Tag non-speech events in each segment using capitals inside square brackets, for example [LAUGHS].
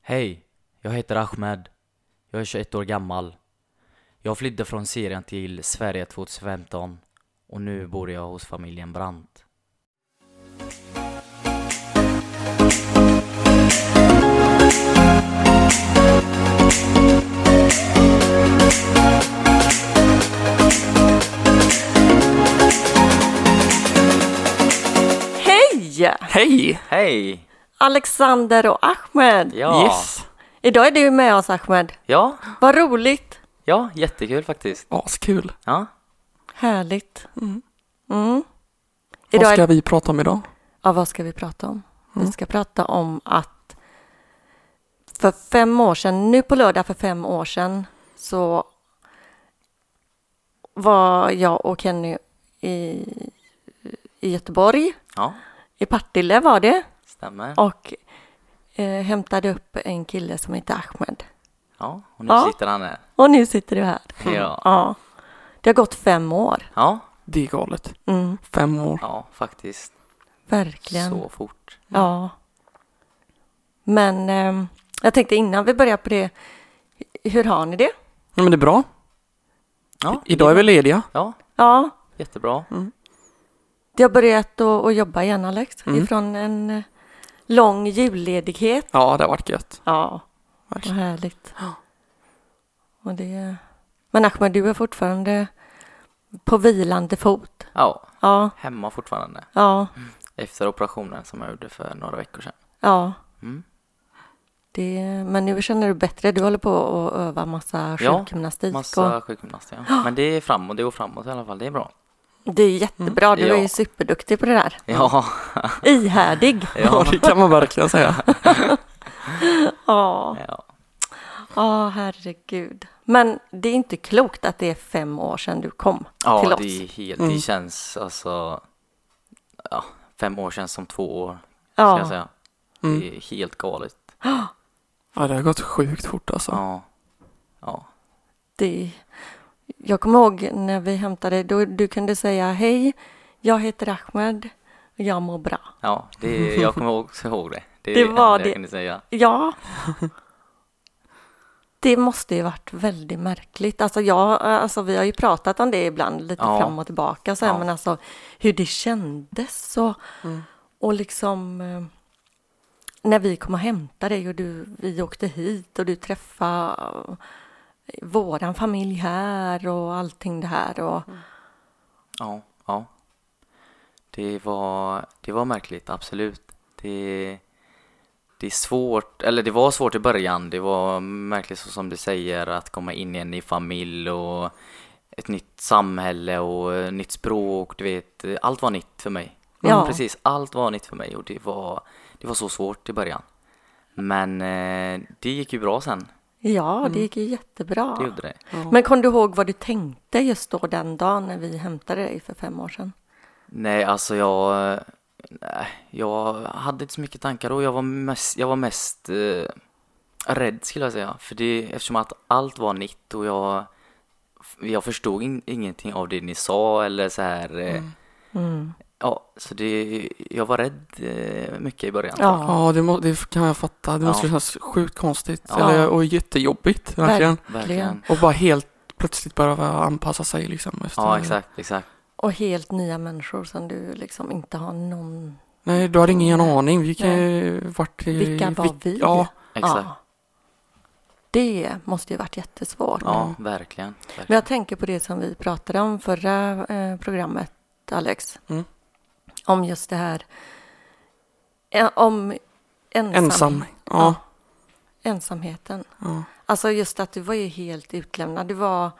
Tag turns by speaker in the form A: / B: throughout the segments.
A: Hej, jag heter Ahmed. Jag är 21 år gammal. Jag flydde från Syrien till Sverige 2015 och nu bor jag hos familjen Brandt.
B: Hej!
C: Hej!
A: Hej!
B: Alexander och Ahmed.
A: Ja.
C: Yes!
B: Idag är du med oss Ahmed.
A: Ja,
B: Vad roligt.
A: ja, jättekul faktiskt.
C: Askul.
A: Ja.
B: Härligt.
C: Mm.
B: Mm.
C: Vad
B: Idag
C: ska Mm.
B: är...
C: vi prata om idag?
B: ja, vad ska vi prata om? Vi ska prata om att för fem år sedan, nu på lördag för fem år sedan, så var jag och Kenny i, i Göteborg,
A: Ja,
B: i Partille var det,
A: stämmer.
B: och eh, hämtade upp en kille som heter Ahmed.
A: Ja, Mm. och nu
B: Ja.
A: sitter han här.
B: Och nu sitter du här.
A: Ja.
B: Ja. Det har gått fem år.
A: Ja,
C: Det är galet.
B: Mm,
C: Fem år.
A: ja faktiskt.
B: verkligen.
A: Så fort.
B: Ja. Men ehm, jag tänkte innan vi börjar på det, hur har ni det?
C: Ja, men det är bra.
A: Ja,
C: Idag är vi lediga.
A: ja
B: Ja,
A: jättebra.
B: jag har börjat att, att jobba igen Alex,
C: Mm.
B: ifrån en eh, lång julledighet.
C: Ja, det har varit gött.
B: Ja, vad
C: Verkligen.
B: härligt. Och det... Men Ahmed, du är fortfarande på vilande fot.
A: Ja,
B: Ja,
A: hemma fortfarande.
B: ja,
A: Efter operationen som jag gjorde för några veckor sedan.
B: ja.
A: Mm.
B: Det, men nu känner du bättre. Du håller på att öva massa
A: Ja,
B: sjukgymnastik.
A: Massa sjukgymnaster. Ja. Men det är framåt, det går framåt i alla fall. Det är bra.
B: Och det är jättebra. Du är
A: Mm, Ja.
B: ju superduktig på det där.
A: Ja,
B: Ihärdig.
C: [LAUGHS] Ja,
A: [LAUGHS] ja.
C: det kan man
A: [LAUGHS]
C: verkligen säga.
B: Ja,
A: ja.
B: ja, herregud. Men det är inte klokt att det är fem år sedan du kom till
A: ja
B: oss.
A: det, är helt,
C: Mm.
A: det känns alltså... Ja, fem år känns som två år, ska jag
B: ja,
A: säga.
C: Mm.
A: Det är helt galet.
C: Ja, det har gått sjukt fort alltså.
A: Ja. Ja.
B: det. Jag kommer ihåg när vi hämtade då du kunde säga hej, jag heter Ahmed och jag mår bra.
A: ja det, jag kommer också ihåg det. Det, är
B: Det
A: enda
B: var det.
A: Jag kunde säga.
B: Ja. Det måste ju varit väldigt märkligt. Alltså jag, alltså vi har ju pratat om det ibland lite
A: Ja.
B: fram och tillbaka så här,
A: Ja. Mm.
B: men alltså hur det kändes och, och liksom eh, när vi kom och hämtade dig och du, vi åkte hit och du träffade eh, våran familj här och allting det här och
A: Mm. Ja, ja. Det var, det var märkligt, absolut. Det, det är svårt, eller det var svårt i början. Det var märkligt så som du säger att komma in i en ny familj och ett nytt samhälle och eh, nytt språk, du vet. Allt var nytt för mig.
B: Ja.
A: Precis, allt var nytt för mig och det var, det var så svårt i början. Men eh, det gick ju bra sen,
B: ja, det gick ju jättebra.
A: Mm. det gjorde det.
B: Men kom du ihåg vad du tänkte just då den dagen när vi hämtade dig för fem år sedan?
A: Nej, alltså jag... Nej, jag hade inte så mycket tankar då. Jag var mest, jag var mest eh, rädd skulle jag säga. För det, eftersom att allt var nytt och jag, jag förstod in, ingenting av det ni sa eller så här. Eh,
B: Mm.
A: Ja, så det, jag var rädd eh, mycket i början.
B: Ja.
C: Ja, det, må, det kan jag fatta. Det
A: Ja.
C: måste kännas sjukt konstigt.
A: Ja.
C: Eller, och jättejobbigt, verkligen.
A: Verkligen.
C: Och bara helt plötsligt behöva anpassa sig liksom. Efter,
A: Ja, exakt, exakt.
B: Och helt nya människor som du liksom inte har någon...
C: Nej, du hade ingen aning. Vi kan vart,
B: Vilka var vi?
C: Ja,
A: Exakt.
B: Ja. Det måste ju varit jättesvårt.
A: Ja, verkligen. verkligen.
B: Men jag tänker på det som vi pratade om förra eh, programmet, Alex.
C: Mm.
B: Om just det här... Eh, om ensam,
C: ensam. Ja.
B: ensamheten.
C: ja.
B: Alltså just att du var ju helt utlämnad. Du var...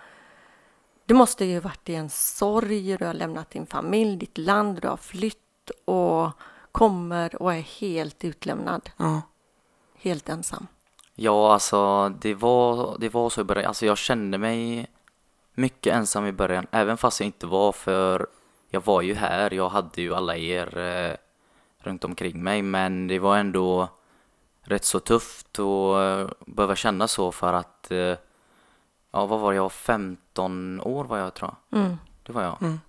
B: Du måste ju varit i en sorg, du har lämnat din familj, ditt land, du har flytt och kommer och är helt utlämnad,
C: ja.
B: helt ensam.
A: Ja, alltså det var, det var så i början. Alltså jag kände mig mycket ensam i början, även fast jag inte var för jag var ju här, jag hade ju alla er eh, runt omkring mig, men det var ändå rätt så tufft att eh, behöva känna så för att, eh, ja vad var jag, 15 år var jag tror jag.
B: Mm.
A: Det var jag.
C: Mm.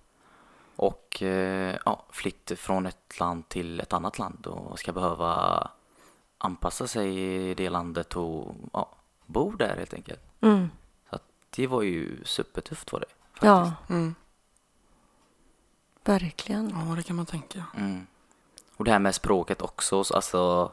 A: Och eh, ja, flytt från ett land till ett annat land och ska behöva anpassa sig i det landet och ja, bo där helt enkelt.
B: Mm.
A: Det var ju supertufft var det.
B: Ja,
C: Mm.
B: verkligen.
C: Ja, det kan
A: [LAUGHS]
C: man tänka.
A: Mm. Och det här med språket också, så alltså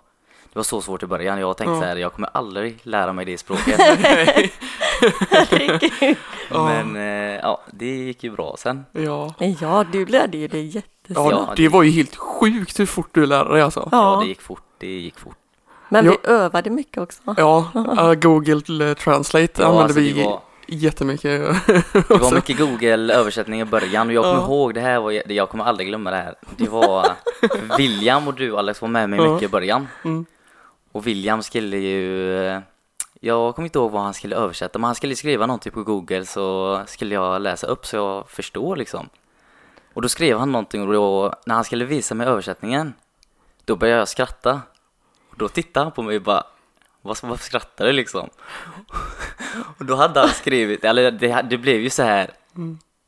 A: det var så svårt i början. Jag tänkte
C: Ja.
A: så här, jag kommer aldrig lära mig det språket.
B: Herregud.
C: Ja.
A: Men eh, ja, det gick ju bra sen.
C: Ja.
B: Men ja, du lärde ju dig jättesnabbt.
C: Ja, det var ju helt sjukt hur fort du lärde dig alltså.
A: Ja, det
B: Ja,
A: gick fort, det gick fort.
B: men vi
C: Ja.
B: övade mycket också.
C: Ja, äh, Google Translate
A: Ja,
C: använde
A: alltså,
C: vi
A: det, var,
C: jättemycket. [LAUGHS]
A: det var mycket Google-översättning i början och jag kommer
C: Ja.
A: ihåg det här, var, det- jag kommer aldrig glömma det här. Det var William och du Alex var med mig
C: Ja.
A: mycket i början.
C: Mm.
A: Och William skulle ju, eh, jag kommer inte ihåg vad han skulle översätta, men han skulle skriva någonting på Google så skulle jag läsa upp så jag förstår liksom. Och då skrev han någonting och då, när han skulle visa mig översättningen, då började jag skratta. Och då tittade han på mig och bara, "Vad- varför skrattar du liksom? [LAUGHS] Och då hade han skrivit, eller det, det blev ju så här,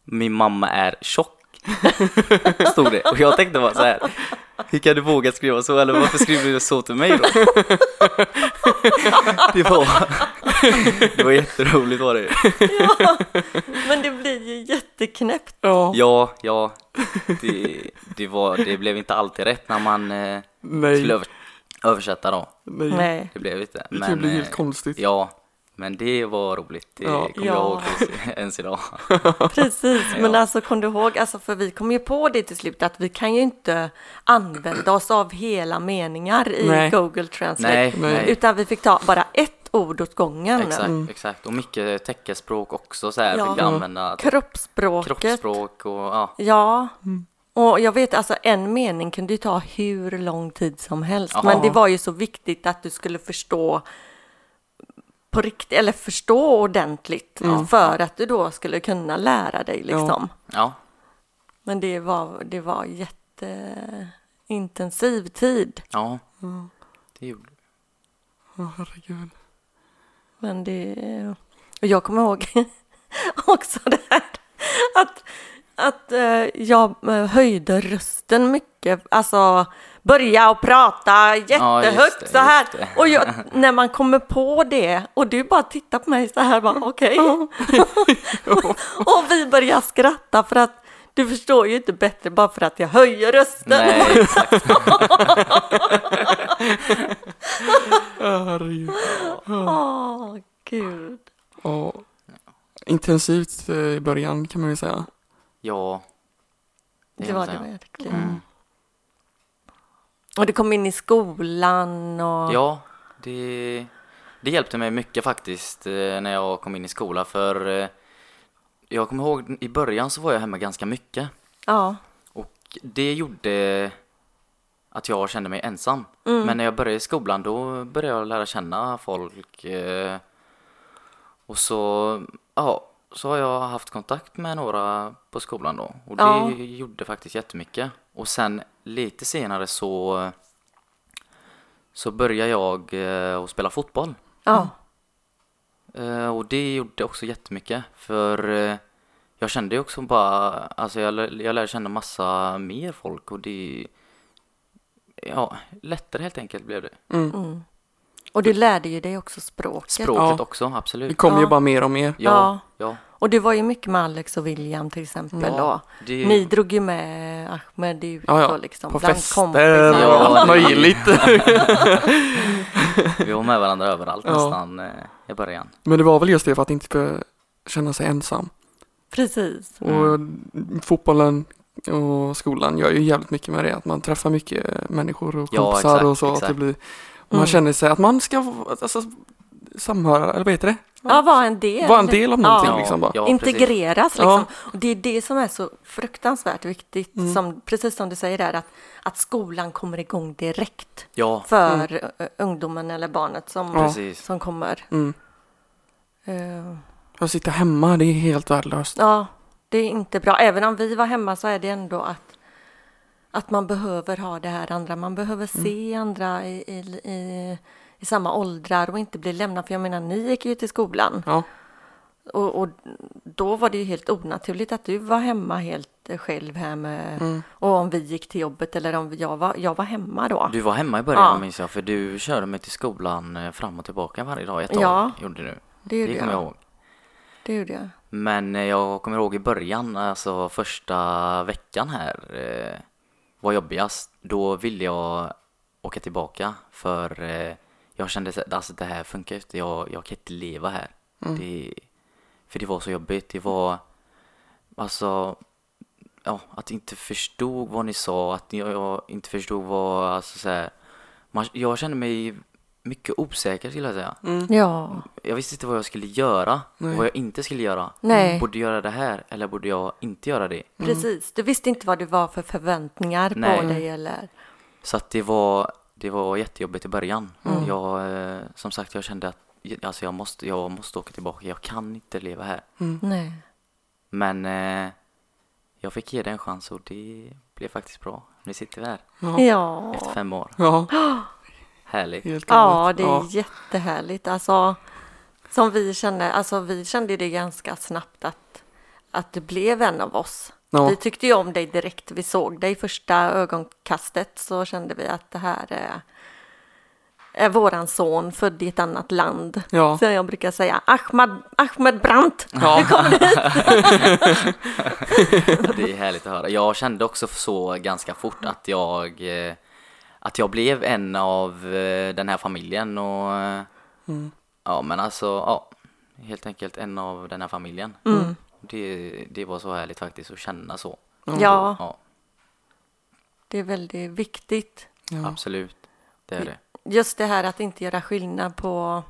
A: min mamma är tjock. [LAUGHS] Stod det. Och jag tänkte bara så här, hur kan du våga skriva så? Eller varför skriver du så till mig då? Det var, [LAUGHS] det var jätteroligt var det
B: Ja, [LAUGHS] men det blir ju jätteknäppt.
C: Ja,
A: Ja, ja, det, det, var, det blev inte alltid rätt när man eh, skulle
C: nej,
A: över, översätta då.
C: nej.
B: Nej.
A: Det blev inte.
C: Det kan bli
A: eh,
C: helt konstigt.
A: Ja, men det var roligt. Det
C: Ja.
A: kommer
B: Ja.
A: jag ihåg tills- ens idag.
B: Precis, men
A: Ja.
B: alltså kom du ihåg, alltså, för vi kom ju på det till slut att vi kan ju inte använda oss av hela meningar i
C: Nej.
B: Google Translate.
A: Nej,
C: Nej.
A: nej.
B: Utan vi fick ta bara ett ord åt gången.
A: Exakt,
C: Mm.
A: exakt. Och mycket teckenspråk också så här.
B: Ja.
A: Fick jag använda
B: Kroppsspråket.
A: kroppsspråk och ja.
B: Ja. Och jag vet alltså en mening kunde ju ta hur lång tid som helst.
A: Ja.
B: Men det var ju så viktigt att du skulle förstå på riktigt, eller förstå ordentligt. För att du då skulle kunna lära dig liksom.
A: Mm. ja.
B: Men det var, det var jätteintensiv tid.
A: Ja. Det gjorde
C: Åh, herregud.
B: Men det... Och jag kommer ihåg [LAUGHS] också det här att, att eh, jag eh, höjde rösten mycket. Alltså börja och prata jättehögt
A: just det,
B: så här.
A: just det.
B: Och
A: [LAUGHS]
B: jag, när man kommer på det och du bara tittar på mig så här bara okej. [LAUGHS] och vi börjar skratta för att du förstår ju inte bättre bara för att jag höjer rösten.
A: Nej, exakt.
C: Ja, herregud.
B: Åh, gud.
C: Ja. Intensivt eh, i början kan man ju säga.
A: Ja.
B: Det
A: kan
B: var
A: man
B: det
A: säga.
B: verkligen. Och du kom in i skolan och...
A: Ja, det, det hjälpte mig mycket faktiskt eh, när jag kom in i skolan för eh, jag kommer ihåg i början så var jag hemma ganska mycket
B: Ja.
A: och det gjorde att jag kände mig ensam. Men när jag började i skolan då började jag lära känna folk eh, och så, ja, så har jag haft kontakt med några på skolan då och det
B: Ja.
A: gjorde faktiskt jättemycket. Och sen lite senare så så började jag eh, att spela fotboll.
B: ja.
A: Eh, och det gjorde också jättemycket för eh, jag kände ju också bara, alltså jag, lär- jag lärde känna massa mer folk och det, ja, lättare helt enkelt blev det.
C: Mm.
B: Mm. Och du lärde ju dig också språket.
A: Språket
C: Ja.
A: också,
C: Det
A: absolut.
C: kom ju
B: Ja.
C: bara mer och mer.
A: Ja, ja,
B: Och du var ju mycket med Alex och William till exempel då.
A: det-
B: Ni drog ju med Ahmed ut
C: Ja, ja.
B: och liksom
C: På
B: bland
C: fester
B: kompisar.
C: och
A: Ja.
C: allt möjligt. [LAUGHS]
A: vi var med varandra överallt
C: Ja.
A: nästan eh, i början.
C: Men det var väl just det för att inte behöva känna sig ensam.
B: [LAUGHS] Precis.
C: Och fotbollen och skolan gör ju jävligt mycket med det, att man träffar mycket människor och
A: Ja,
C: kompisar
A: exakt,
C: och så. Att det
A: exakt.
C: blir, man känner sig att man ska vara- alltså, samhöra, eller vad heter det?
B: Ja, var en del.
C: Vara en del av någonting
B: Ja.
C: liksom bara.
A: Ja, precis.
B: Integreras
C: Ja.
B: liksom. Och det är det som är så fruktansvärt viktigt. Som, precis som du säger där, att, att skolan kommer igång direkt.
A: Ja,
B: för eh, ungdomen eller barnet som,
C: Ja.
A: precis.
B: som kommer.
C: Mm.
B: Eh,
C: Att sitta hemma, det är helt värdelöst.
B: ja, det är inte bra. Även om vi var hemma så är det ändå att, att man behöver ha det här andra. Man behöver
A: Mm.
B: se andra i, i, i, i samma åldrar och inte bli lämnad. För jag menar, ni gick ju till skolan.
C: Ja,
B: Och, och då var det ju helt onaturligt att du var hemma helt själv här med,
C: Mm.
B: och om vi gick till jobbet eller om jag var, jag var hemma då.
A: Du var hemma i början
B: Ja.
A: minns jag för du körde mig till skolan eh, fram och tillbaka varje dag i ett tag.
B: Ja.
A: Gjorde du.
B: det
A: Det kommer jag ihåg.
B: Det gjorde jag.
A: Men eh, jag kommer ihåg i början, alltså första veckan här eh, var jobbigast. Då ville jag åka tillbaka för eh, jag kände att alltså, det här funkar ju inte. Jag, jag kan inte leva här. Det, för det var så jobbigt. Det var alltså ja, att inte förstod vad ni sa, att jag, jag inte förstod vad, alltså så här, man, Jag kände mig mycket osäker skulle jag säga.
C: Mm,
B: Ja,
A: Jag visste inte vad jag skulle göra
C: Nej.
A: och vad jag inte skulle göra.
B: nej,
A: Borde jag göra det här eller borde jag inte göra det?
B: precis. Du visste inte vad det var för förväntningar
A: Nej.
B: på dig eller?
A: Så att det var, det var jättejobbigt i början.
B: Mm.
A: Jag, eh, som sagt, jag kände att alltså jag, måste, jag måste åka tillbaka. Jag kan inte leva här.
C: mm,
B: Nej.
A: Men eh, jag fick ge det en chans och det blev faktiskt bra. Nu sitter vi här
B: Ja.
A: efter fem år.
C: mm. Ja,
A: Härligt.
C: helt
B: Ja,
C: galet.
B: det är jättehärligt. Alltså, som vi kände, alltså vi kände ju det ganska snabbt att, att du blev en av oss.
C: Ja.
B: Vi tyckte ju om dig direkt. Vi såg dig första ögonkastet så kände vi att det här är, är våran son född i ett annat land.
C: Ja.
B: Så jag brukar säga Ahmad, Ahmed Brandt.
A: Det är härligt att höra. Jag kände också så ganska fort att jag eh, att jag blev en av eh, den här familjen och eh,
C: Mm.
A: ja men alltså ja helt enkelt en av den här familjen.
B: Mm.
A: Det, det var så härligt faktiskt att känna så.
B: Ja,
A: Ja,
B: det är väldigt viktigt.
C: Ja.
A: absolut. Det är det.
B: Just det här att inte göra skillnad på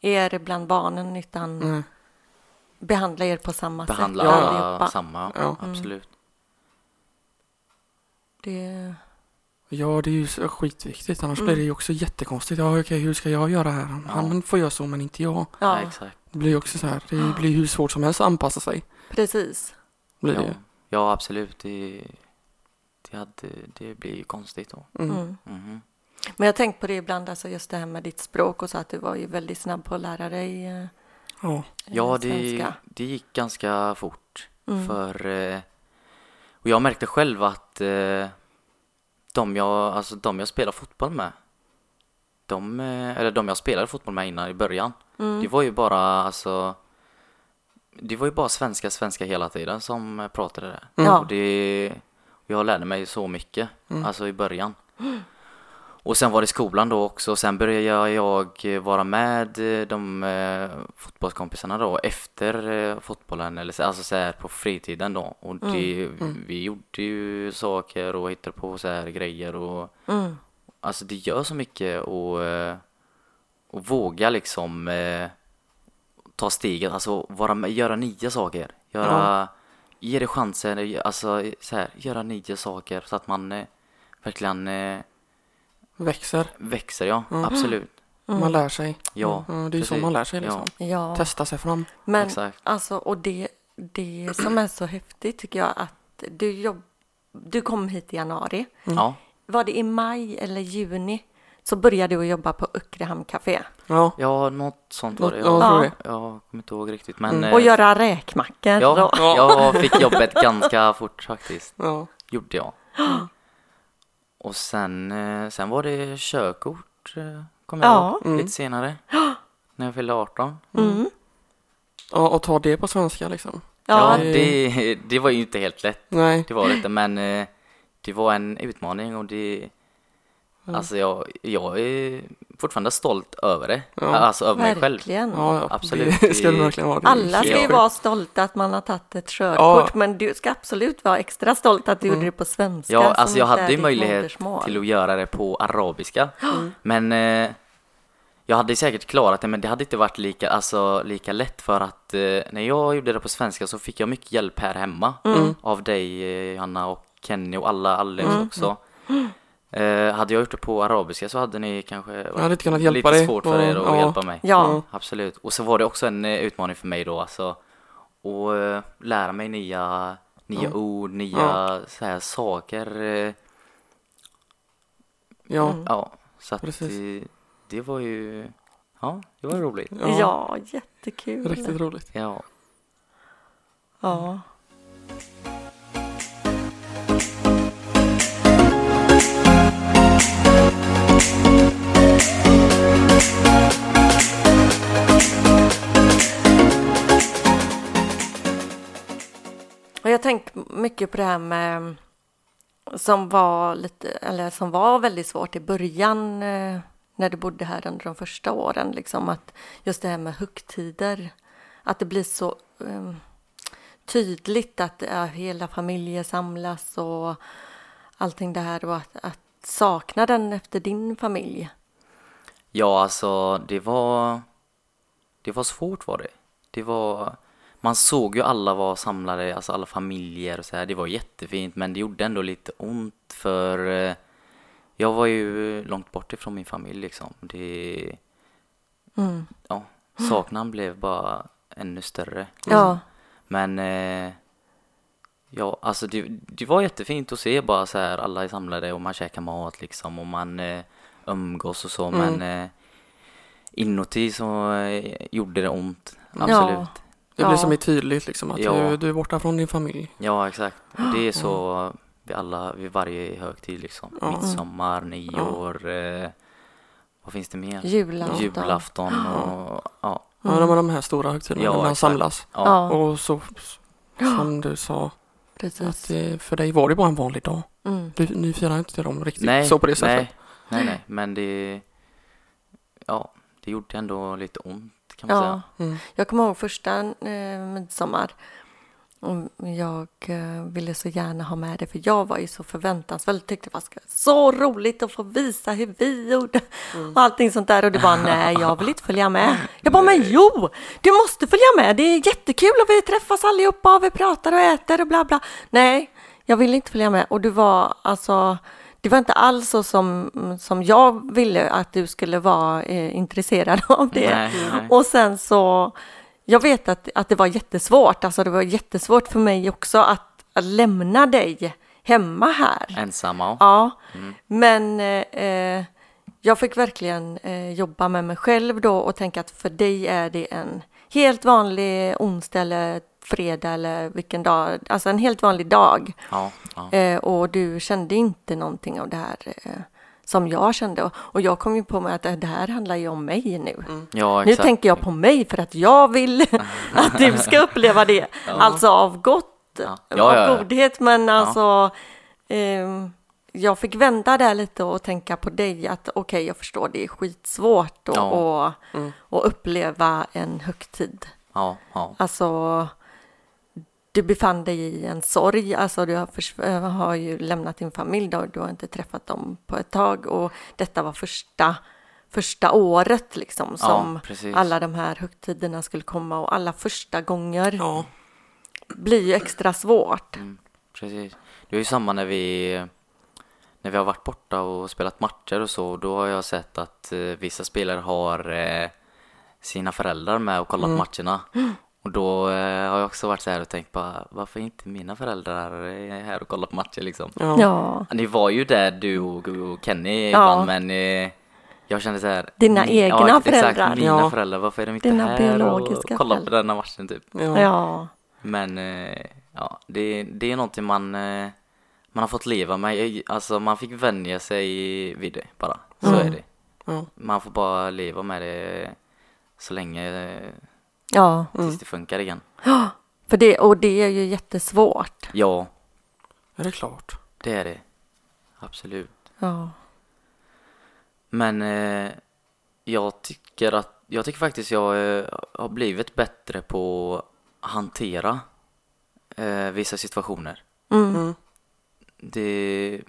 B: er bland barnen utan
C: Nej.
B: behandla er på samma
A: Behandla
B: sätt
A: alla samma.
B: Mm.
C: Ja.
A: Absolut.
B: Det...
C: Ja, det är ju så skitviktigt. Annars blir det ju också jättekonstigt. Ja, okej, hur ska jag göra här? Han får göra så, men inte jag.
A: Ja.
B: Ja,
A: exakt.
C: Det blir ju också så här. Det blir ju hur svårt som helst att anpassa sig.
B: precis.
C: Blir det
A: Ja,
C: ju.
A: ja absolut. Det, det, hade, det blir ju konstigt då.
B: Mm.
A: Mhm.
B: Men jag har tänkt på det ibland, alltså just det här med ditt språk och så att du var ju väldigt snabb på att lära dig eh,
C: Ja.
A: Ja, det,
B: svenska.
A: det gick ganska fort.
B: Mm.
A: För, eh, och jag märkte själv att eh, de, jag, alltså de jag spelar fotboll med, de, eh, eller de jag spelade fotboll med innan i början, det var ju bara alltså det var ju bara svenska, svenska hela tiden som eh, pratade där.
B: Mm. Ja.
A: Och det, jag lärde mig så mycket, alltså i början. Och sen var det skolan då också. Sen började jag eh, vara med eh, de eh, fotbollskompisarna då efter eh, fotbollen, eller så, alltså så här på fritiden då. Och det, vi gjorde ju saker och hittade på så här grejer och
B: Mm.
A: alltså det gör så mycket och, eh, och våga liksom eh, ta steget, alltså vara med, göra nya saker. Göra, ge det chansen, alltså så här, göra nya saker så att man eh, verkligen eh,
C: Växer.
A: växer, ja
B: Mm.
A: absolut.
C: Man lär sig. Mm.
A: Ja,
C: Ja, det är ju så
A: precis.
C: man lär sig liksom.
B: Ja,
C: Testa sig fram.
B: men
A: exakt.
B: alltså, och det, det som är så häftigt tycker jag att du, jobb, du kom hit i januari.
A: Ja, ja,
B: Var det i maj eller juni så började du att jobba på Öckerhamn Café
C: Ja.
A: ja något sånt var
C: Något-
A: det.
C: Ja,
A: Jag,
C: jag tror
B: Ja. Mm.
C: det.
A: jag kommer inte ihåg riktigt men eh,
B: och göra räkmackor.
A: ja,
B: då.
A: jag fick jobbet ganska fort faktiskt.
C: Ja.
A: Gjorde jag. Och sen, eh, sen var det körkort, eh, kommer jag
B: Ja.
A: ihåg, lite senare. När jag fyllde 18.
B: Mm.
C: Ja, och ta det på svenska liksom.
A: Ja,
B: ja.
A: det, det var ju inte helt lätt.
C: Nej.
A: Det var det inte, men eh, det var en utmaning och det... Alltså jag, jag är fortfarande stolt över det.
C: Ja.
A: Alltså över mig själv.
B: verkligen.
C: Ja, ja.
A: Absolut.
C: Det [LAUGHS] ska det verkligen vara. Det är
B: Alla ska ju
A: Ja.
C: helt
B: vara stolta att man har tagit ett körkort,
C: Ja.
B: men du ska absolut vara extra stolt att du gjorde det på svenska.
A: Mm. Ja,
B: som
A: alltså jag
B: inte är
A: hade ju
B: ditt
A: möjlighet
B: modersmål.
A: till att göra det på
B: [GASPS]
A: arabiska. Men eh, jag hade säkert klarat det, men det hade inte varit lika, alltså, lika lätt för att eh, när jag gjorde det på svenska så fick jag mycket hjälp här hemma
B: Mm.
A: av dig, eh, Johanna och Kenny och alla alldeles
B: Mm.
A: också. Eh, hade jag gjort det på arabiska så hade ni kanske
C: Jag hade inte kunnat hjälpa
A: lite
C: dig.
A: svårt för er att
C: Ja.
A: hjälpa mig.
B: Ja,
A: Absolut. Och så var det också en eh, utmaning för mig då alltså. Och eh, lära mig nya, nya ord, nya så här, saker. eh,
C: Ja.
A: Ja, så att
C: Precis.
A: det, det var ju Ja, det var roligt.
B: Ja, jättekul.
C: Riktigt roligt.
A: Ja.
B: Ja. Och jag har tänkt mycket på det här med som var lite, eller som var väldigt svårt i början eh, när du bodde här under de första åren, liksom att just det här med högtider, att det blir så eh, tydligt att ja, hela familjer samlas och allting det här och att, att sakna den efter din familj.
A: Ja, alltså det var... Det var svårt var det. Det var... Man såg ju alla var samlade, alltså alla familjer och så här. Det var jättefint men det gjorde ändå lite ont för eh, jag var ju långt bort ifrån min familj liksom. Det,
B: Mm.
A: ja, saknaden blev bara ännu större.
B: Ja,
A: Men eh, ja, alltså det, det var jättefint att se bara så här alla är samlade och man käkar mat liksom och man eh, umgås och så men eh, inuti så eh, gjorde det ont. Absolut. Ja,
C: Det
B: Ja.
C: blir som är tydligt liksom att
A: Ja.
C: du, du är borta från din familj.
A: exakt. Och det är så vid alla, vid varje högtid liksom.
C: Ja.
A: Midsommar, nyår, eh, vad finns det mer?
B: julafton.
A: Julafton och ja.
C: Ja, de, de här stora högtiderna
A: Ja,
C: när man
A: exakt.
C: samlas.
A: Ja,
B: Ja,
C: Och så som du sa, att
B: precis.
C: det, för dig var det bara en vanlig dag.
B: Mm.
C: Du, ni firar inte dem riktigt
A: Nej,
C: Typ så på det sättet.
A: nej, nej, nej, men det, ja, det gjorde ändå lite ont kan man
B: Ja.
A: säga.
C: Mm.
B: Jag kommer ihåg första eh, midsommar. Och Jag eh, ville så gärna ha med det för jag var ju så förväntansfull. Tyckte det var ska- så roligt att få visa hur vi gjorde
A: Mm.
B: och allting sånt där. Och det var
A: [LAUGHS]
B: nej, jag vill inte följa med. Jag bara, men jo, du måste följa med. Det är jättekul och vi träffas allihopa och vi pratar och äter och bla bla. Nej, jag ville inte följa med. Och du var alltså, det var inte alls så som, som jag ville att du skulle vara eh, intresserad av det.
A: Nej, nej.
B: Och sen så, jag vet att, att det var jättesvårt, alltså det var jättesvårt för mig också att, att lämna dig hemma här.
A: Ensamma.
B: Ja, men eh, eh, jag fick verkligen eh, jobba med mig själv då och tänka att för dig är det en helt vanlig onsdag eller fredag eller vilken dag, alltså en helt vanlig dag.
A: Ja, ja.
B: Eh, och du kände inte någonting av det här eh, som jag kände. Och- Och jag kom ju på mig att det här handlar ju om mig nu.
A: ja
B: Nu
A: exakt.
B: tänker jag på mig för att
A: [LAUGHS]
B: jag vill att du ska uppleva det. Alltså av gott,
A: Ja. Ja, ja, ja.
B: av godhet, men alltså ehm, jag fick vända där lite och tänka på dig att okej, jag förstår det är skitsvårt att
A: Ja.
B: och, och uppleva en högtid.
A: Ja, ja.
B: Alltså, du befann dig i en sorg, alltså du har, förs- eh, har ju lämnat din familj då, du har inte träffat dem på ett tag och detta var första, första året liksom som
A: precis.
B: alla de här högtiderna skulle komma och alla första gånger
C: Ja,
B: blir ju extra svårt.
A: Mm, Precis. Det är ju samma när vi när vi har varit borta och spelat matcher och så, då har jag sett att eh, vissa spelare har eh, sina föräldrar med och kollat matcherna. Och då eh, har jag också varit så här och tänkt bara, varför är inte mina föräldrar eh, här och kollar på matcher liksom?
C: ja.
B: Ja,
A: Ni var ju där du och, och Kenny
B: Ja.
A: ibland men eh, jag kände så här
B: Dina
A: ni-
B: egna
A: exakt,
B: föräldrar.
A: mina
C: Ja.
A: föräldrar, varför är de inte
B: Dina
A: här
B: biologiska
A: och kollar på
B: föräldrar.
A: denna matchen typ?
C: ja.
B: ja,
A: Men eh, ja, det, det är någonting man, eh, man har fått leva med. Jag- Alltså man fick vänja sig vid det bara. Så
B: Mm.
A: är det.
C: Ja.
A: Man får bara leva med det eh, så länge eh,
B: ja.
A: tills det funkar igen.
B: För det, och det är ju jättesvårt.
A: Ja,
C: Är det klart?
A: det är det. Absolut.
B: Ja,
A: Men eh, jag tycker att jag tycker faktiskt jag eh, har blivit bättre på att hantera eh, vissa situationer.
C: Mm.
A: Det,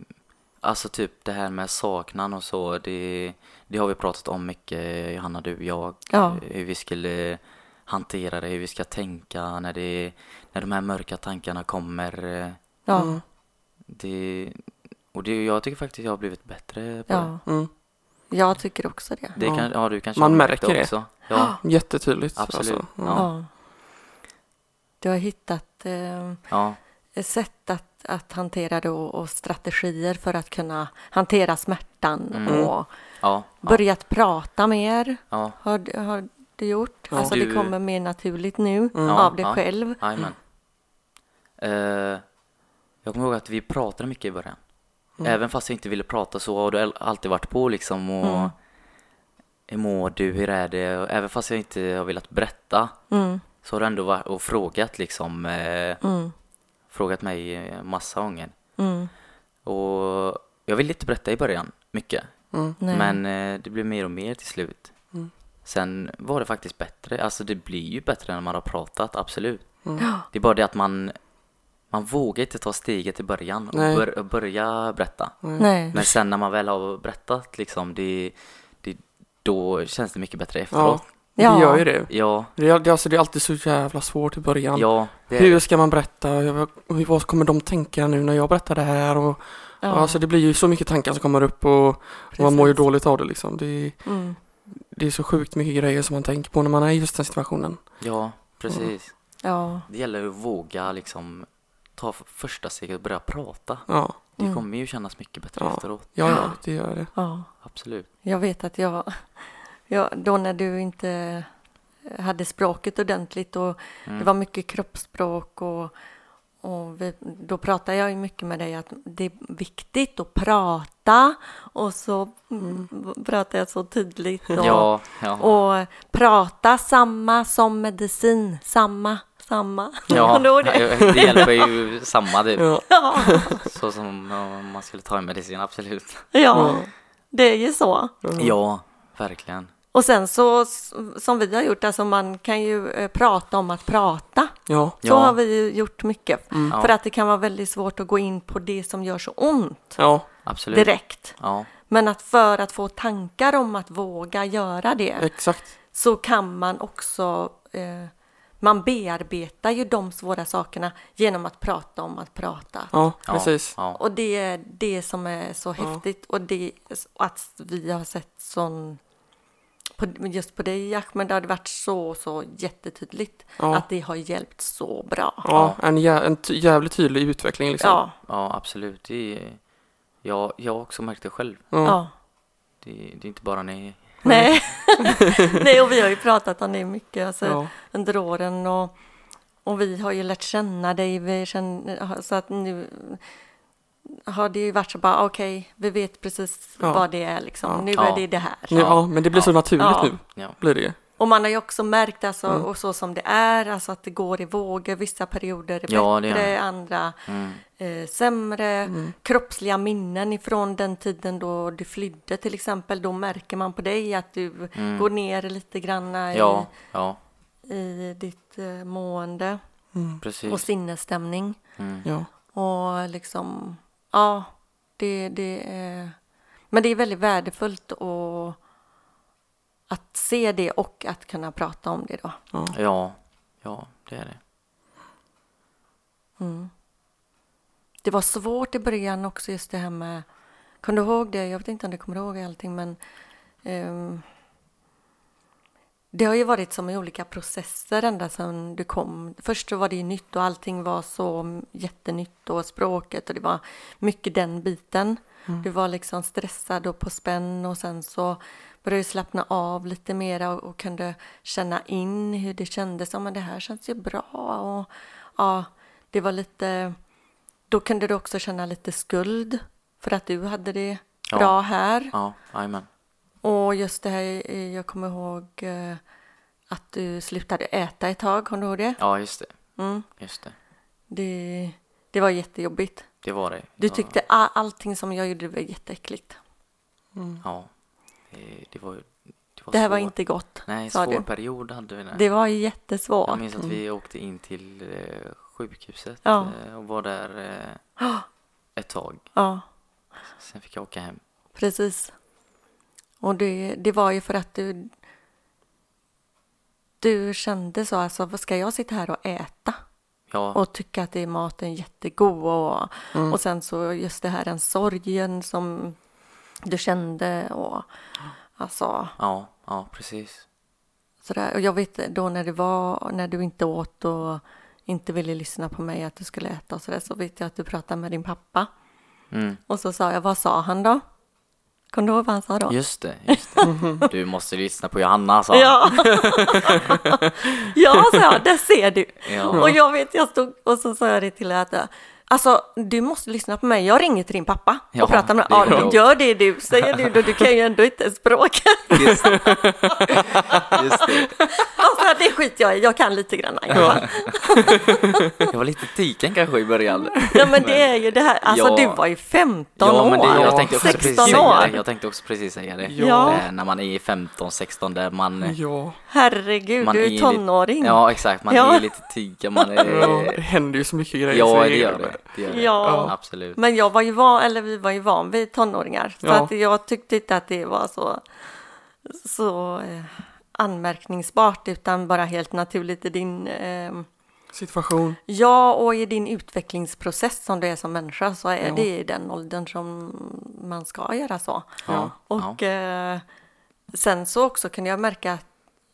A: alltså typ det här med saknan och så, det, det har vi pratat om mycket, Johanna, du, jag.
B: Ja.
A: Hur vi skulle hantera det, hur vi ska tänka när, det, när de här mörka tankarna kommer. eh,
B: ja,
C: Mm.
A: Det, och det, jag tycker faktiskt jag har blivit bättre på det.
B: ja.
C: Mm.
B: Jag tycker också det.
A: det kan, ja, du kanske
C: Man
A: har märkt
C: märker det.
A: också. Ja,
C: Jättetydligt.
A: absolut.
C: Alltså. Mm.
A: Ja,
B: Ja. Du har hittat eh,
A: ja,
B: sätt att,
C: Mm.
B: att hantera det och, och strategier för att kunna hantera smärtan och
A: Ja. ja,
B: Börjat prata mer
A: ja.
B: har, d- har du gjort.
C: Ja.
B: Alltså
A: Du-
B: det kommer mer naturligt nu
A: Ja,
B: av dig
A: ja.
B: själv.
A: Jajamän. Eh, jag kommer ihåg att vi pratade mycket i början.
B: Mm.
A: Även fast jag inte ville prata så har du al- alltid varit på liksom och
B: Mm.
A: hur mår du, hur är det? Och även fast jag inte har velat berätta
B: Mm,
A: så har du ändå varit och frågat liksom, eh,
B: mm,
A: frågat mig eh, massa gånger.
B: mm,
A: Och jag ville inte berätta i början mycket,
C: Mm.
B: nej.
A: men eh, det blev mer och mer till slut.
C: Mm.
A: Sen var det faktiskt bättre, alltså det blir ju bättre när man har pratat, absolut.
C: Mm.
B: Ja,
A: Det är bara det att man, man vågar inte ta steget i början och
C: Nej.
A: bör, och börja berätta.
B: [GASPS]
C: Mm.
B: nej.
A: Men sen när man väl har berättat liksom, det, det, då känns det mycket bättre efteråt.
C: det
B: Ja.
C: gör ju det.
A: Ja,
C: Det är, det, är alltså, det är alltid så jävla svårt i
A: ja,
C: början.
A: det är
C: Hur ska man berätta? Jag- hur- Vad kommer de tänka nu när jag berättar det här? Och,
B: Ja,
C: Alltså det blir ju så mycket tankar som kommer upp och, och man
B: precis.
C: mår ju dåligt av det liksom. Det,
B: Mm,
C: det är så sjukt mycket grejer som man tänker på när man är i just den situationen.
A: Ja, precis.
B: ja,
A: Det gäller att våga liksom ta f- första steget och börja prata.
C: Ja,
A: Det
B: Mm.
A: kommer ju kännas mycket bättre
C: Ja.
A: efteråt.
C: ja, ja det gör det.
B: ja.
A: Absolut.
B: Jag vet att jag, [LAUGHS] jag, då när du inte hade språket ordentligt och
A: Mm.
B: det var mycket kroppsspråk och, och vi, då pratade jag ju mycket med dig att det är viktigt att prata och så mm. pratade jag så tydligt. Och,
A: Ja, ja.
B: och prata samma som medicin, samma, samma.
A: ja.
B: Då är det-
A: Det hjälper ju samma typ.
C: Ja.
B: [LAUGHS] Ja,
A: Så som om man skulle ta en medicin, absolut.
B: ja, det är ju så.
A: Ja, verkligen.
B: Och sen så, s- som vi har gjort, alltså man kan ju eh, prata om att prata.
C: Ja,
B: Så
A: Ja. Mm.
B: har vi ju gjort mycket.
A: Ja.
B: För att det kan vara väldigt svårt att gå in på det som gör så ont
C: ja,
A: Absolut.
B: direkt.
A: Ja,
B: Men att för att få tankar om att våga göra
A: Mm.
B: det
C: exakt.
B: så kan man också, eh, man bearbetar ju de svåra sakerna genom att prata om att prata.
C: Ja,
A: ja.
C: precis.
A: Ja.
B: Och det är det som är så häftigt och det och att vi har sett sån på, just på dig Ahmed, det har varit så, så jättetydligt
C: Ja.
B: att det har hjälpt så bra.
C: Ja, en, jä, en ty, jävligt tydlig utveckling liksom.
B: Ja,
A: ja, absolut. Det är... ja, jag har också märkt det själv.
C: Ja.
B: ja.
A: Det, det är inte bara ni.
C: [LAUGHS]
B: Nej. Nej, och vi har ju pratat om det mycket alltså,
C: Ja.
B: under åren och, och vi har ju lärt känna dig. Vi känner, så att nu har det ju varit så bara okej, vi vet precis
C: Ja.
B: vad det är liksom.
C: Ja.
B: Nu
A: Ja.
B: är det det här.
C: Nu, ja, men det blir så
A: Ja.
C: naturligt
B: Ja.
C: nu.
A: Ja,
C: Blir det ju.
B: Och man har ju också märkt alltså,
A: Mm.
B: och så som det är, alltså att det går i vågor. Vissa perioder är
A: Ja, det gör
B: bättre,
A: det.
B: andra
A: mm.
B: eh, sämre. Kroppsliga minnen ifrån den tiden då du flydde till exempel. Då märker man på dig att du går ner lite grann i,
A: Mm. ja, ja
B: i ditt eh, mående Mm. och
A: precis. Mm.
B: sinnesstämning.
C: Ja.
B: Och liksom, ja, det, det är... Men det är väldigt värdefullt att, att se det och att kunna prata om det då.
A: Ja, ja, det är det.
B: Det var svårt i början också just det här med, kom du ihåg det? Jag vet inte om du kommer ihåg allting men ehm, det har ju varit som i olika processer ända sedan du kom. Först så var det ju nytt och allting var så jättenytt och språket och det var mycket den biten. Du var liksom stressad och på spänn och sen så började du slappna av lite mera och, och kunde känna in hur det kändes. Ja men det här känns ju bra och ja, det var lite då kunde du också känna lite skuld för att du hade det
A: Ja.
B: bra här.
A: Ja, jajamän.
B: Och just det här, eh, jag kommer ihåg eh, att du slutade äta ett tag, kommer du ihåg det?
A: Ja, just det.
B: Mm.
A: Just det.
B: Det, det var jättejobbigt.
A: Det var det.
B: Du
A: Ja,
B: tyckte all, allting som jag gjorde var jätteäckligt.
A: Ja. Det, det var ju... Det, var
B: Det här var
A: svår-
B: inte gott,
A: Nej,
B: sa
A: svår
B: du.
A: period hade vi där.
B: Det var jättesvårt.
A: Jag minns att vi åkte in till eh, sjukhuset
B: Ja.
A: eh, och var där eh,
B: [GASPS]
A: ett tag.
B: Ja,
A: Sen fick jag åka hem.
B: precis. Och det, det var ju för att du... Du kände så, alltså, vad ska jag sitta här och äta?
A: Ja,
B: och tycka att det är maten jättegod och, och sen så just det här den sorgen som du kände och alltså
A: ja, ja, precis.
B: sådär. Och jag vet då när det var, när du inte åt och inte ville lyssna på mig att du skulle äta och sådär så vet jag att du pratade med din pappa
A: Mm.
B: och så sa jag, vad sa han då? Kommer du ihåg vad han sa då?
A: Just det, just
B: [LAUGHS]
A: det. Du måste lyssna på Johanna sa han.
B: Ja, [LAUGHS] ja sa jag, där ser du. [LAUGHS]
A: Ja.
B: Och jag vet, jag stod och så sa jag det till att Alltså, du måste lyssna på mig. Jag ringer till din pappa och
A: Ja,
B: pratar med
A: det är
B: honom. Ja,
A: bra.
B: gör det du, säger du då. Du kan ju ändå
A: [LAUGHS]
B: inte språket.
A: Just, just det.
B: Alltså, det skiter jag i. Jag kan lite grann i alla fall.
A: Jag var lite tiken kanske i början.
B: Ja, men det är ju det här. Alltså,
A: Ja.
B: du var ju 15
A: Ja,
B: år.
A: men det, jag, tänkte också
B: 16
A: precis säga
B: år.
A: det. jag tänkte också precis säga det.
B: Ja.
A: Eh, när man är 15, 16 där man...
C: Ja,
B: Herregud,
A: man
B: du är
A: lite-
B: tonåring.
A: Ja, exakt. Man
B: Ja.
A: är lite tiken. Man är...
C: ja, det händer ju så mycket grejer. så
A: Ja, det gör
C: bara-
A: det. det, gör det.
B: Ja.
A: Absolut.
B: Men jag var ju van, eller vi var ju van vid tonåringar. Så
C: Ja.
B: att jag tyckte inte att det var så, så eh, anmärkningsbart utan bara helt naturligt i din, eh,
C: Situation.
B: ja och i din utvecklingsprocess som du är som människa så är
C: Ja.
B: det i den åldern som man ska göra så.
A: Ja.
B: Och eh, sen så också kunde jag märka att,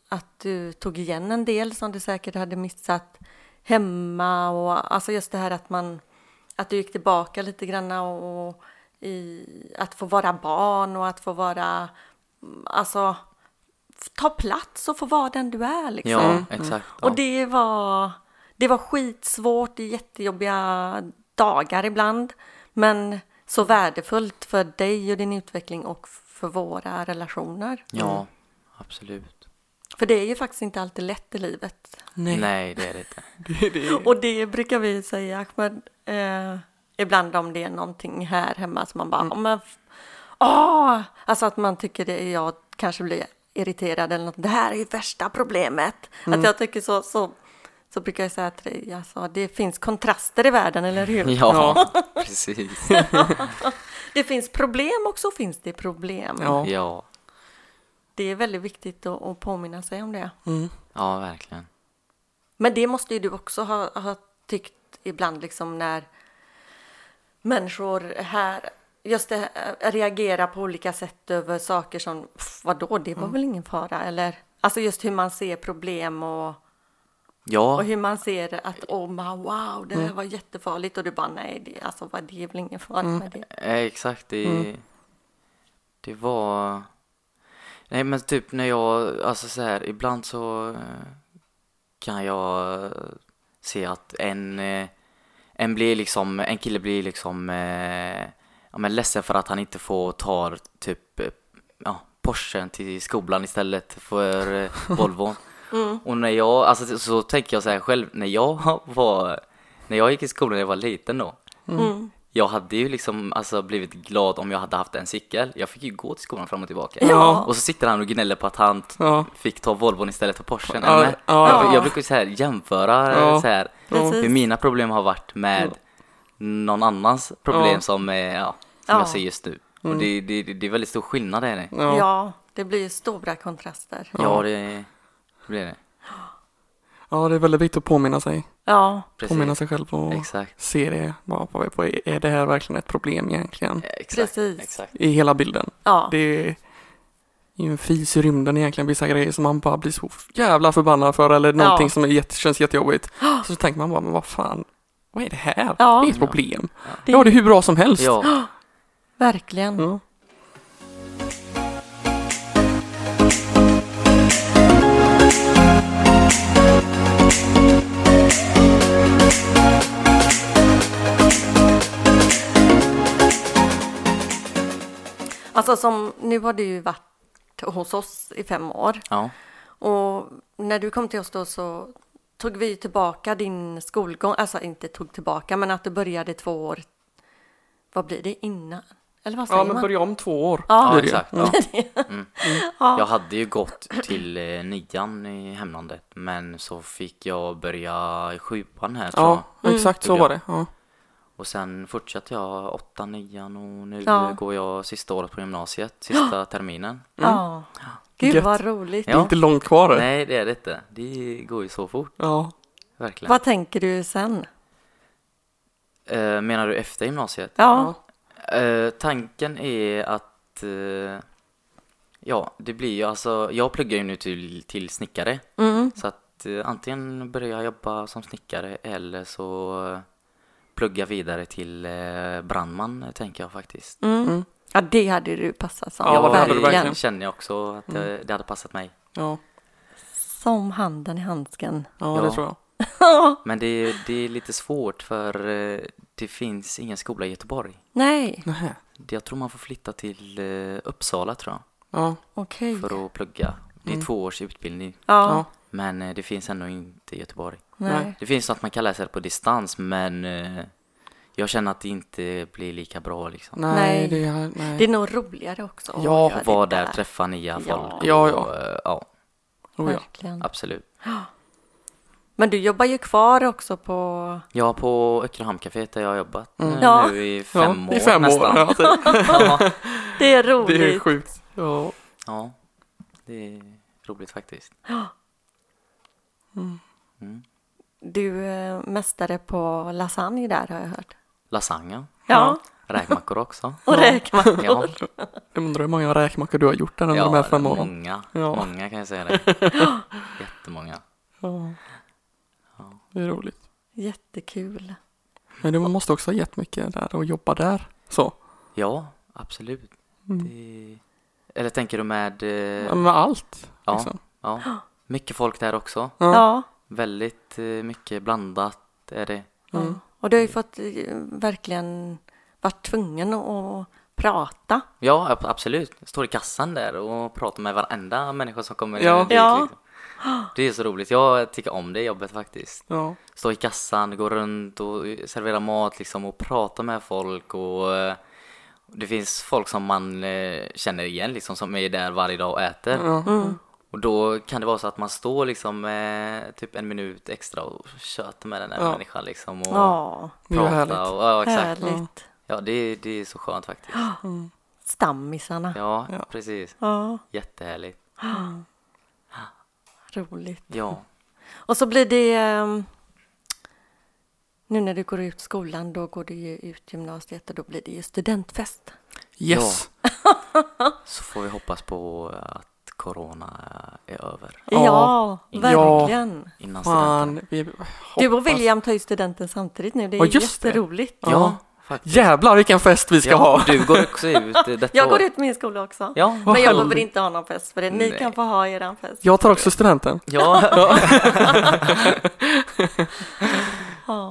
B: att du tog igen en del som du säkert hade missat hemma och alltså just det här att man att du gick tillbaka lite grann och, och i, att få vara barn och att få vara mm, alltså ta plats och få vara den du är liksom.
A: Ja, exakt. Ja.
B: Och det var, det var skitsvårt, jättejobbiga dagar ibland. Men så värdefullt för dig och din utveckling och för våra relationer.
A: ja, absolut.
B: För det är ju faktiskt inte alltid lätt i livet.
A: Nej.
C: Nej. [LAUGHS]
A: det är det inte.
C: Det, det,
B: Och det brukar vi säga, Ahmed, eh, ibland om det är någonting här hemma som man bara, "Åh, men, f- åh! Alltså att man tycker det är jag kanske blir irriterad eller något. Det här är ju värsta problemet. Att jag tycker så, så, så brukar jag säga till dig, alltså, det finns kontraster i världen, eller hur?
A: [LAUGHS] Ja, precis.
B: Det finns problem och så finns det problem.
C: ja.
A: Ja,
B: Det är väldigt viktigt att, att påminna sig om det.
C: Mm.
A: ja verkligen.
B: Men det måste ju du också ha, ha tyckt ibland liksom när människor här just det, här, reagerar på olika sätt över saker som "Pff, vadå, det var väl ingen fara eller alltså just hur man ser problem och,
A: Ja,
B: och hur man ser att oh my, wow, det här var jättefarligt och du bara nej, det, alltså, vad, det är väl ingen fara med det.
A: Eh, Exakt, det, det var... Nej men typ när jag, alltså så här, ibland så eh, kan jag eh, se att en, eh, en blir liksom, en kille blir liksom, eh, ja men ledsen för att han inte får ta typ, eh, ja, Porschen till skolan istället för eh, Volvon. Och när jag, alltså så, så tänker jag så här själv, när jag [LAUGHS] var, när jag gick i skolan när jag var liten då,
B: Mm.
A: jag hade ju liksom alltså, blivit glad om jag hade haft en cykel. Jag fick ju gå till skolan fram och tillbaka.
B: Ja.
A: Och så sitter han och gnäller på att han t-
C: Ja.
A: fick ta Volvon istället för Porschen.
C: Ja,
A: Eller?
C: ja.
A: Jag, jag brukar ju så här jämföra eh,
C: Ja.
A: så här,
B: Precis.
A: hur mina problem har varit med någon annans problem
C: Ja. Mm.
A: som, eh, ja, som
B: Ja.
A: jag ser just nu. Och det, det, det det är väldigt stor skillnad är det.
B: Ja.
C: Ja.
B: det blir ju stora kontraster.
A: Ja, det blir det.
C: ja, det är väldigt viktigt att påminna sig.
B: Ja,
A: Precis.
C: Påminna sig själv och
A: Exakt.
C: se det. Bara på, på, är det här verkligen ett problem egentligen?
A: Exakt.
B: Precis.
A: Exakt.
C: I hela bilden.
B: ja.
C: Det är ju en fis i rymden egentligen, vissa grejer som man bara blir så jävla förbannad för eller någonting
B: Ja.
C: som är jätte, känns jättejobbigt. Så tänker man bara, men vad fan, vad är det här?
B: Ja.
C: Det är ett problem. Ja.
B: Det-
C: det är hur bra som helst. Mm.
A: Ja,
B: verkligen.
C: Ja.
B: Alltså som, nu har du ju varit hos oss i fem år
A: ja,
B: och när du kom till oss då så tog vi ju tillbaka din skolgång, alltså inte tog tillbaka men att du började två år, vad blir det innan? Eller vad säger
C: Ja, men
B: man?
C: börja om två år.
B: Ja.
A: ja
C: blir det ju. Mm.
A: exakt. Ja. Mm.
B: ja.
A: Jag hade ju gått till eh, nian i hemlandet men så fick jag börja i sjuan här tror jag.
C: Ja, exakt så var det. Ja.
A: Och sen fortsatte jag åttan, nian och nu
B: Ja.
A: eh, går jag sista året på gymnasiet, sista
B: [GASPS]
A: terminen.
B: ja. Gud
C: Gött.
B: vad roligt.
C: Det är
A: Ja.
C: inte långt kvar.
A: Nej det är det inte. Det går ju så fort,
C: Ja.
A: verkligen.
B: Vad tänker du sen?
A: Eh, menar du efter gymnasiet?
B: Ja,
A: Eh, tanken är att, eh, ja det blir ju alltså, jag pluggar ju nu till, till snickare.
B: Mm.
A: Så att eh, antingen börjar jag jobba som snickare eller så eh, plugga vidare till eh, brandman eh, tänker jag faktiskt.
B: Mm.
C: Mm.
B: Ja, det hade du passat som.
C: Ja,
A: jag
C: det hade du verkligen. Mm.
A: känner jag också att eh, det, det hade passat mig.
C: Ja,
B: Som handen i
C: [LAUGHS]
B: handsken.
C: ja, det
A: Ja.
C: tror jag.
A: Men det, det är lite svårt för eh, det finns ingen skola i Göteborg.
B: Nej,
C: Nähä.
A: Det- Jag tror man får flytta till eh, Uppsala tror jag
C: Ja,
B: okej.
A: för att plugga. Det är
C: Mm.
A: två års utbildning
B: Ja,
C: ja,
A: men eh, det finns ändå inte i Göteborg.
B: nej.
C: nej.
A: Det finns något man kan läsa det på distans men eh, jag känner att det inte blir lika bra liksom.
C: nej,
B: Nej.
C: det är, nej.
B: Det är nog roligare också. att
C: Ja,
B: göra det
A: Var där, träffa nya
B: Ja.
A: folk. och,
C: Ja, ja.
A: eh, ja,
C: Oh, ja.
B: Verkligen.
A: absolut.
B: Men du jobbar ju kvar också på...
A: Ja, på Öckerhamncaféet där jag har jobbat eh,
B: Ja.
A: nu i fem
C: Mm. ja,
A: år
C: i fem
A: nästan.
C: år. Ja, typ.
A: [LAUGHS] Ja.
B: Det är
C: det
B: roligt. [LAUGHS]
C: är sjukt. Ja.
A: ja, det är roligt faktiskt. Mm.
B: Du är mästare på lasagne där har jag hört.
A: Lasagne,
B: Ja,
A: räkmackor också.
B: och
A: [LAUGHS]
B: räkmackor.
A: Ja,
C: Jag undrar hur många räkmackor du har gjort där under de här fem åren.
A: många.
C: Ja.
A: Många kan jag säga [LAUGHS] det. Jättemånga.
C: Ja.
A: Ja.
C: Det är roligt.
B: Jättekul.
C: Men du måste också ha gett mycket där och jobba där. Så.
A: Ja, absolut.
C: Mm.
A: Det... Eller tänker du med... eh,
C: Ja, Med allt.
A: Ja.
C: Liksom.
A: Ja, mycket folk där också.
C: Ja.
B: Ja.
A: Väldigt eh, mycket blandat är det.
B: ja.
C: Mm.
B: Och du har ju fått eh, verkligen varit tvungen att prata.
A: Ja, ab- absolut. Jag står i kassan där och pratar med varenda människa som kommer
C: Ja.
A: dit.
B: Ja.
A: Liksom. Det är så roligt. Jag tycker om det jobbet faktiskt.
C: Ja.
A: Stå i kassan, gå runt och servera mat liksom och prata med folk och eh, det finns folk som man eh, känner igen liksom som är där varje dag och äter.
C: Ja.
B: Mm.
A: Och då kan det vara så att man står liksom eh, typ en minut extra och tjöter med den där
C: Ja.
A: människan liksom och
B: Ja,
C: Det är ju
A: pratar
C: härligt.
A: och ja, exakt.
B: härligt.
A: Ja, det, det är så skönt
C: [GASPS]
A: faktiskt.
B: Stammisarna. Ja.
A: Ja,
C: Ja.
A: precis. Jättehärligt.
B: [GASPS] roligt.
A: Ja,
B: Och så blir det... ehm, Nu när du går ut skolan, då går du ju ut gymnasiet och då blir det ju studentfest.
C: Yes.
A: så får vi hoppas på att corona är över
C: Ja.
B: Ja,
A: Ja.
B: verkligen.
A: innan studenten.
C: Fan. Vi
B: Du och
C: hoppas-
B: William tar ju studenten samtidigt nu. Det är
C: Ja,
B: ju
C: just det.
B: jätteroligt.
A: Ja,
C: Ja.
A: faktiskt.
C: Jävlar vilken fest vi ska
A: ja,
C: ha.
A: Du går också
C: [LAUGHS]
A: ut eh, detta
B: Jag går
A: år.
B: ut min skola också.
A: Ja,
C: Vad
B: Men jag behöver
C: härligt.
B: inte ha någon fest för det. Ni
A: Nej.
B: kan få ha er fest.
C: Jag tar också studenten. [LAUGHS]
A: ja.
B: Ja.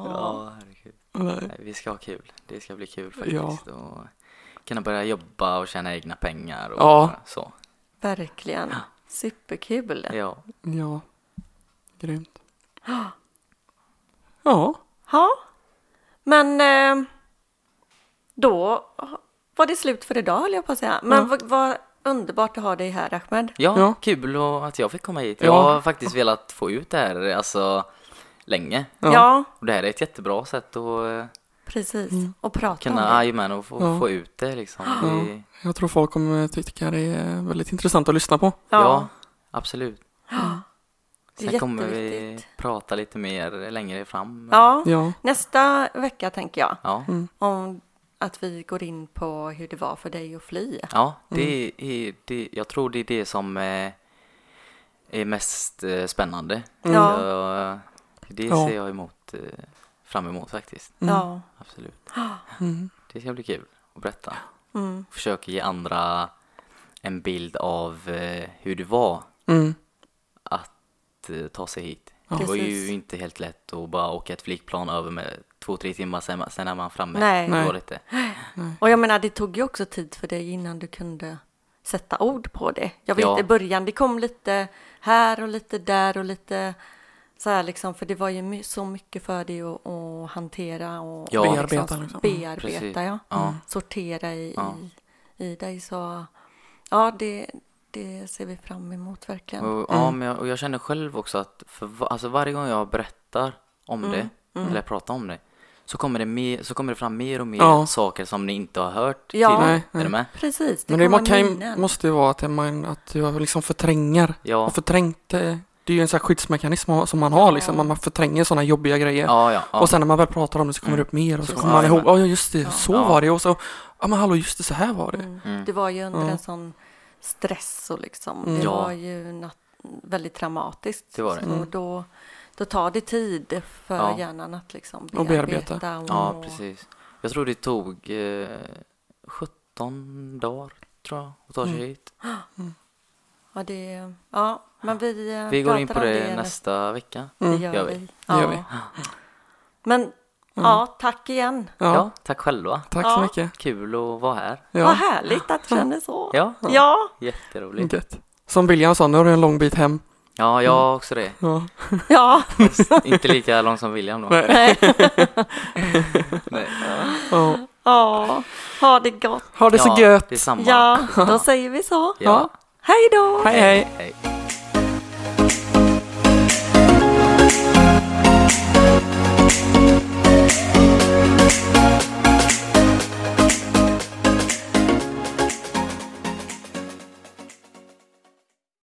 A: ja herregud.
C: Nej.
A: Nej, Vi ska ha kul. Det ska bli kul faktiskt. Och kunna börja jobba och tjäna egna pengar och
C: Ja.
A: så.
B: Verkligen. Superkul.
A: Ja.
C: Ja. Grymt. Ja.
B: Ja. Men eh, då var det slut för idag höll jag på att säga. Men
C: Ja.
B: vad, vad underbart att ha dig här Ahmed.
A: Ja,
C: Ja.
A: kul och att jag fick komma hit.
C: Ja.
A: Jag har faktiskt velat få ut det här alltså länge.
C: Ja.
B: Ja,
A: Och det här är ett jättebra sätt att eh,
B: precis. Och prata
A: kunna,
B: om det.
A: jajamän, och få,
C: Ja.
A: få ut det liksom. Det,
C: Jag tror folk kommer tycka det är väldigt intressant att lyssna på.
A: ja.
B: Ja,
A: absolut.
B: det är
A: Sen kommer vi
B: jätteviktigt.
A: prata lite mer längre fram.
B: Ja.
C: Ja.
B: nästa vecka tänker jag.
A: Ja,
B: Om att vi går in på hur det var för dig att fly.
A: ja det
B: Mm.
A: är, det, jag tror det är det som eh, är mest eh, spännande.
B: Mm. Ja.
A: Så, eh, det
C: Ja.
A: ser jag emot, eh, fram emot faktiskt.
B: Ja. [GASPS]
A: Absolut.
C: Mm.
A: Det ska bli kul att berätta.
B: Mm.
A: Försöka ge andra en bild av eh, hur det var
C: Mm.
A: att eh, ta sig hit. Det var
B: Precis.
A: ju inte helt lätt att bara åka ett flygplan över med två, tre timmar, sen, sen är man framme.
B: Nej.
A: Det
C: Nej.
A: går inte.
B: Och jag menar, det tog ju också tid för dig innan du kunde sätta ord på det. Jag vet
A: Ja.
B: i början, det kom lite här och lite där och lite så här liksom, för det var ju my- så mycket för dig att, att hantera och
A: Ja. Mm,
C: Bearbeta liksom.
B: bearbeta,
A: Precis.
B: ja.
A: Ja.
B: sortera i,
A: Ja.
B: i, i dig. Så ja, det, det ser vi fram emot verkligen.
A: Och, ja, men jag, och jag känner själv också att för, va- alltså varje gång jag berättar om det, eller pratar om det, så kommer det, mer, så kommer det fram mer och mer
C: Ja.
A: saker som ni inte har hört
B: Ja.
A: tidigare.
C: Nej,
A: Är du
C: nej.
A: med?
B: Precis, det
C: Men det
B: kommer
C: man kan, ju-
B: minnen.
C: måste ju vara att, man, att du liksom förtränger.
A: Ja.
C: Och förträngt, eh, det är ju en sån här skyddsmekanism ha- som man har liksom. Man förtränger sådana jobbiga grejer.
A: Ja, ja, Mm. ja.
C: Och sen när man väl pratar om det så kommer det upp mer och så
A: Precis.
C: kommer man
A: Ja,
C: ihåg,
A: men-
C: ja just det, så
A: Ja.
C: var det och så, ja men hallå just det, så här var det.
B: Mm.
A: Mm.
B: Det var ju under
C: Ja.
B: en sån stress och liksom,
C: Mm.
B: det
A: Ja.
B: var ju nat- väldigt traumatiskt.
A: Det var det.
B: Så
C: Mm.
B: då, då tar det tid för
A: Ja.
B: hjärnan att liksom
C: Och bearbeta.
B: bearbeta. Och
A: Ja, precis. Jag tror det tog eh, 17 15 dagar tror jag att ta sig hit.
B: Ja, det, ja men vi, eh,
A: Vi går in på
B: pratar om
A: det nästa vecka.
B: Det gör,
A: gör vi.
B: vi.
C: Mm. Det gör vi. Mm.
B: Men ja, tack igen.
A: Ja.
C: Ja,
A: tack själva.
C: tack
B: Ja.
C: så mycket.
A: Kul att vara här.
B: Vad
C: Ja,
B: härligt att du känner så.
A: [LAUGHS] Ja,
B: Ja,
A: jätteroligt.
C: gött. Som William sa, nu har du en lång bit hem.
A: Ja, jag har också det.
C: Ja.
B: ja.
A: Fast inte lika lång som William då.
C: Nej.
B: Nej.
A: [LAUGHS] Nej.
C: Ja.
B: ja. Ha det gott.
C: Ha det så
A: ja,
C: gött.
A: Detsamma.
B: Ja, då säger vi så.
A: Ja.
B: Hej då!
C: Hej, hej.
A: Hej.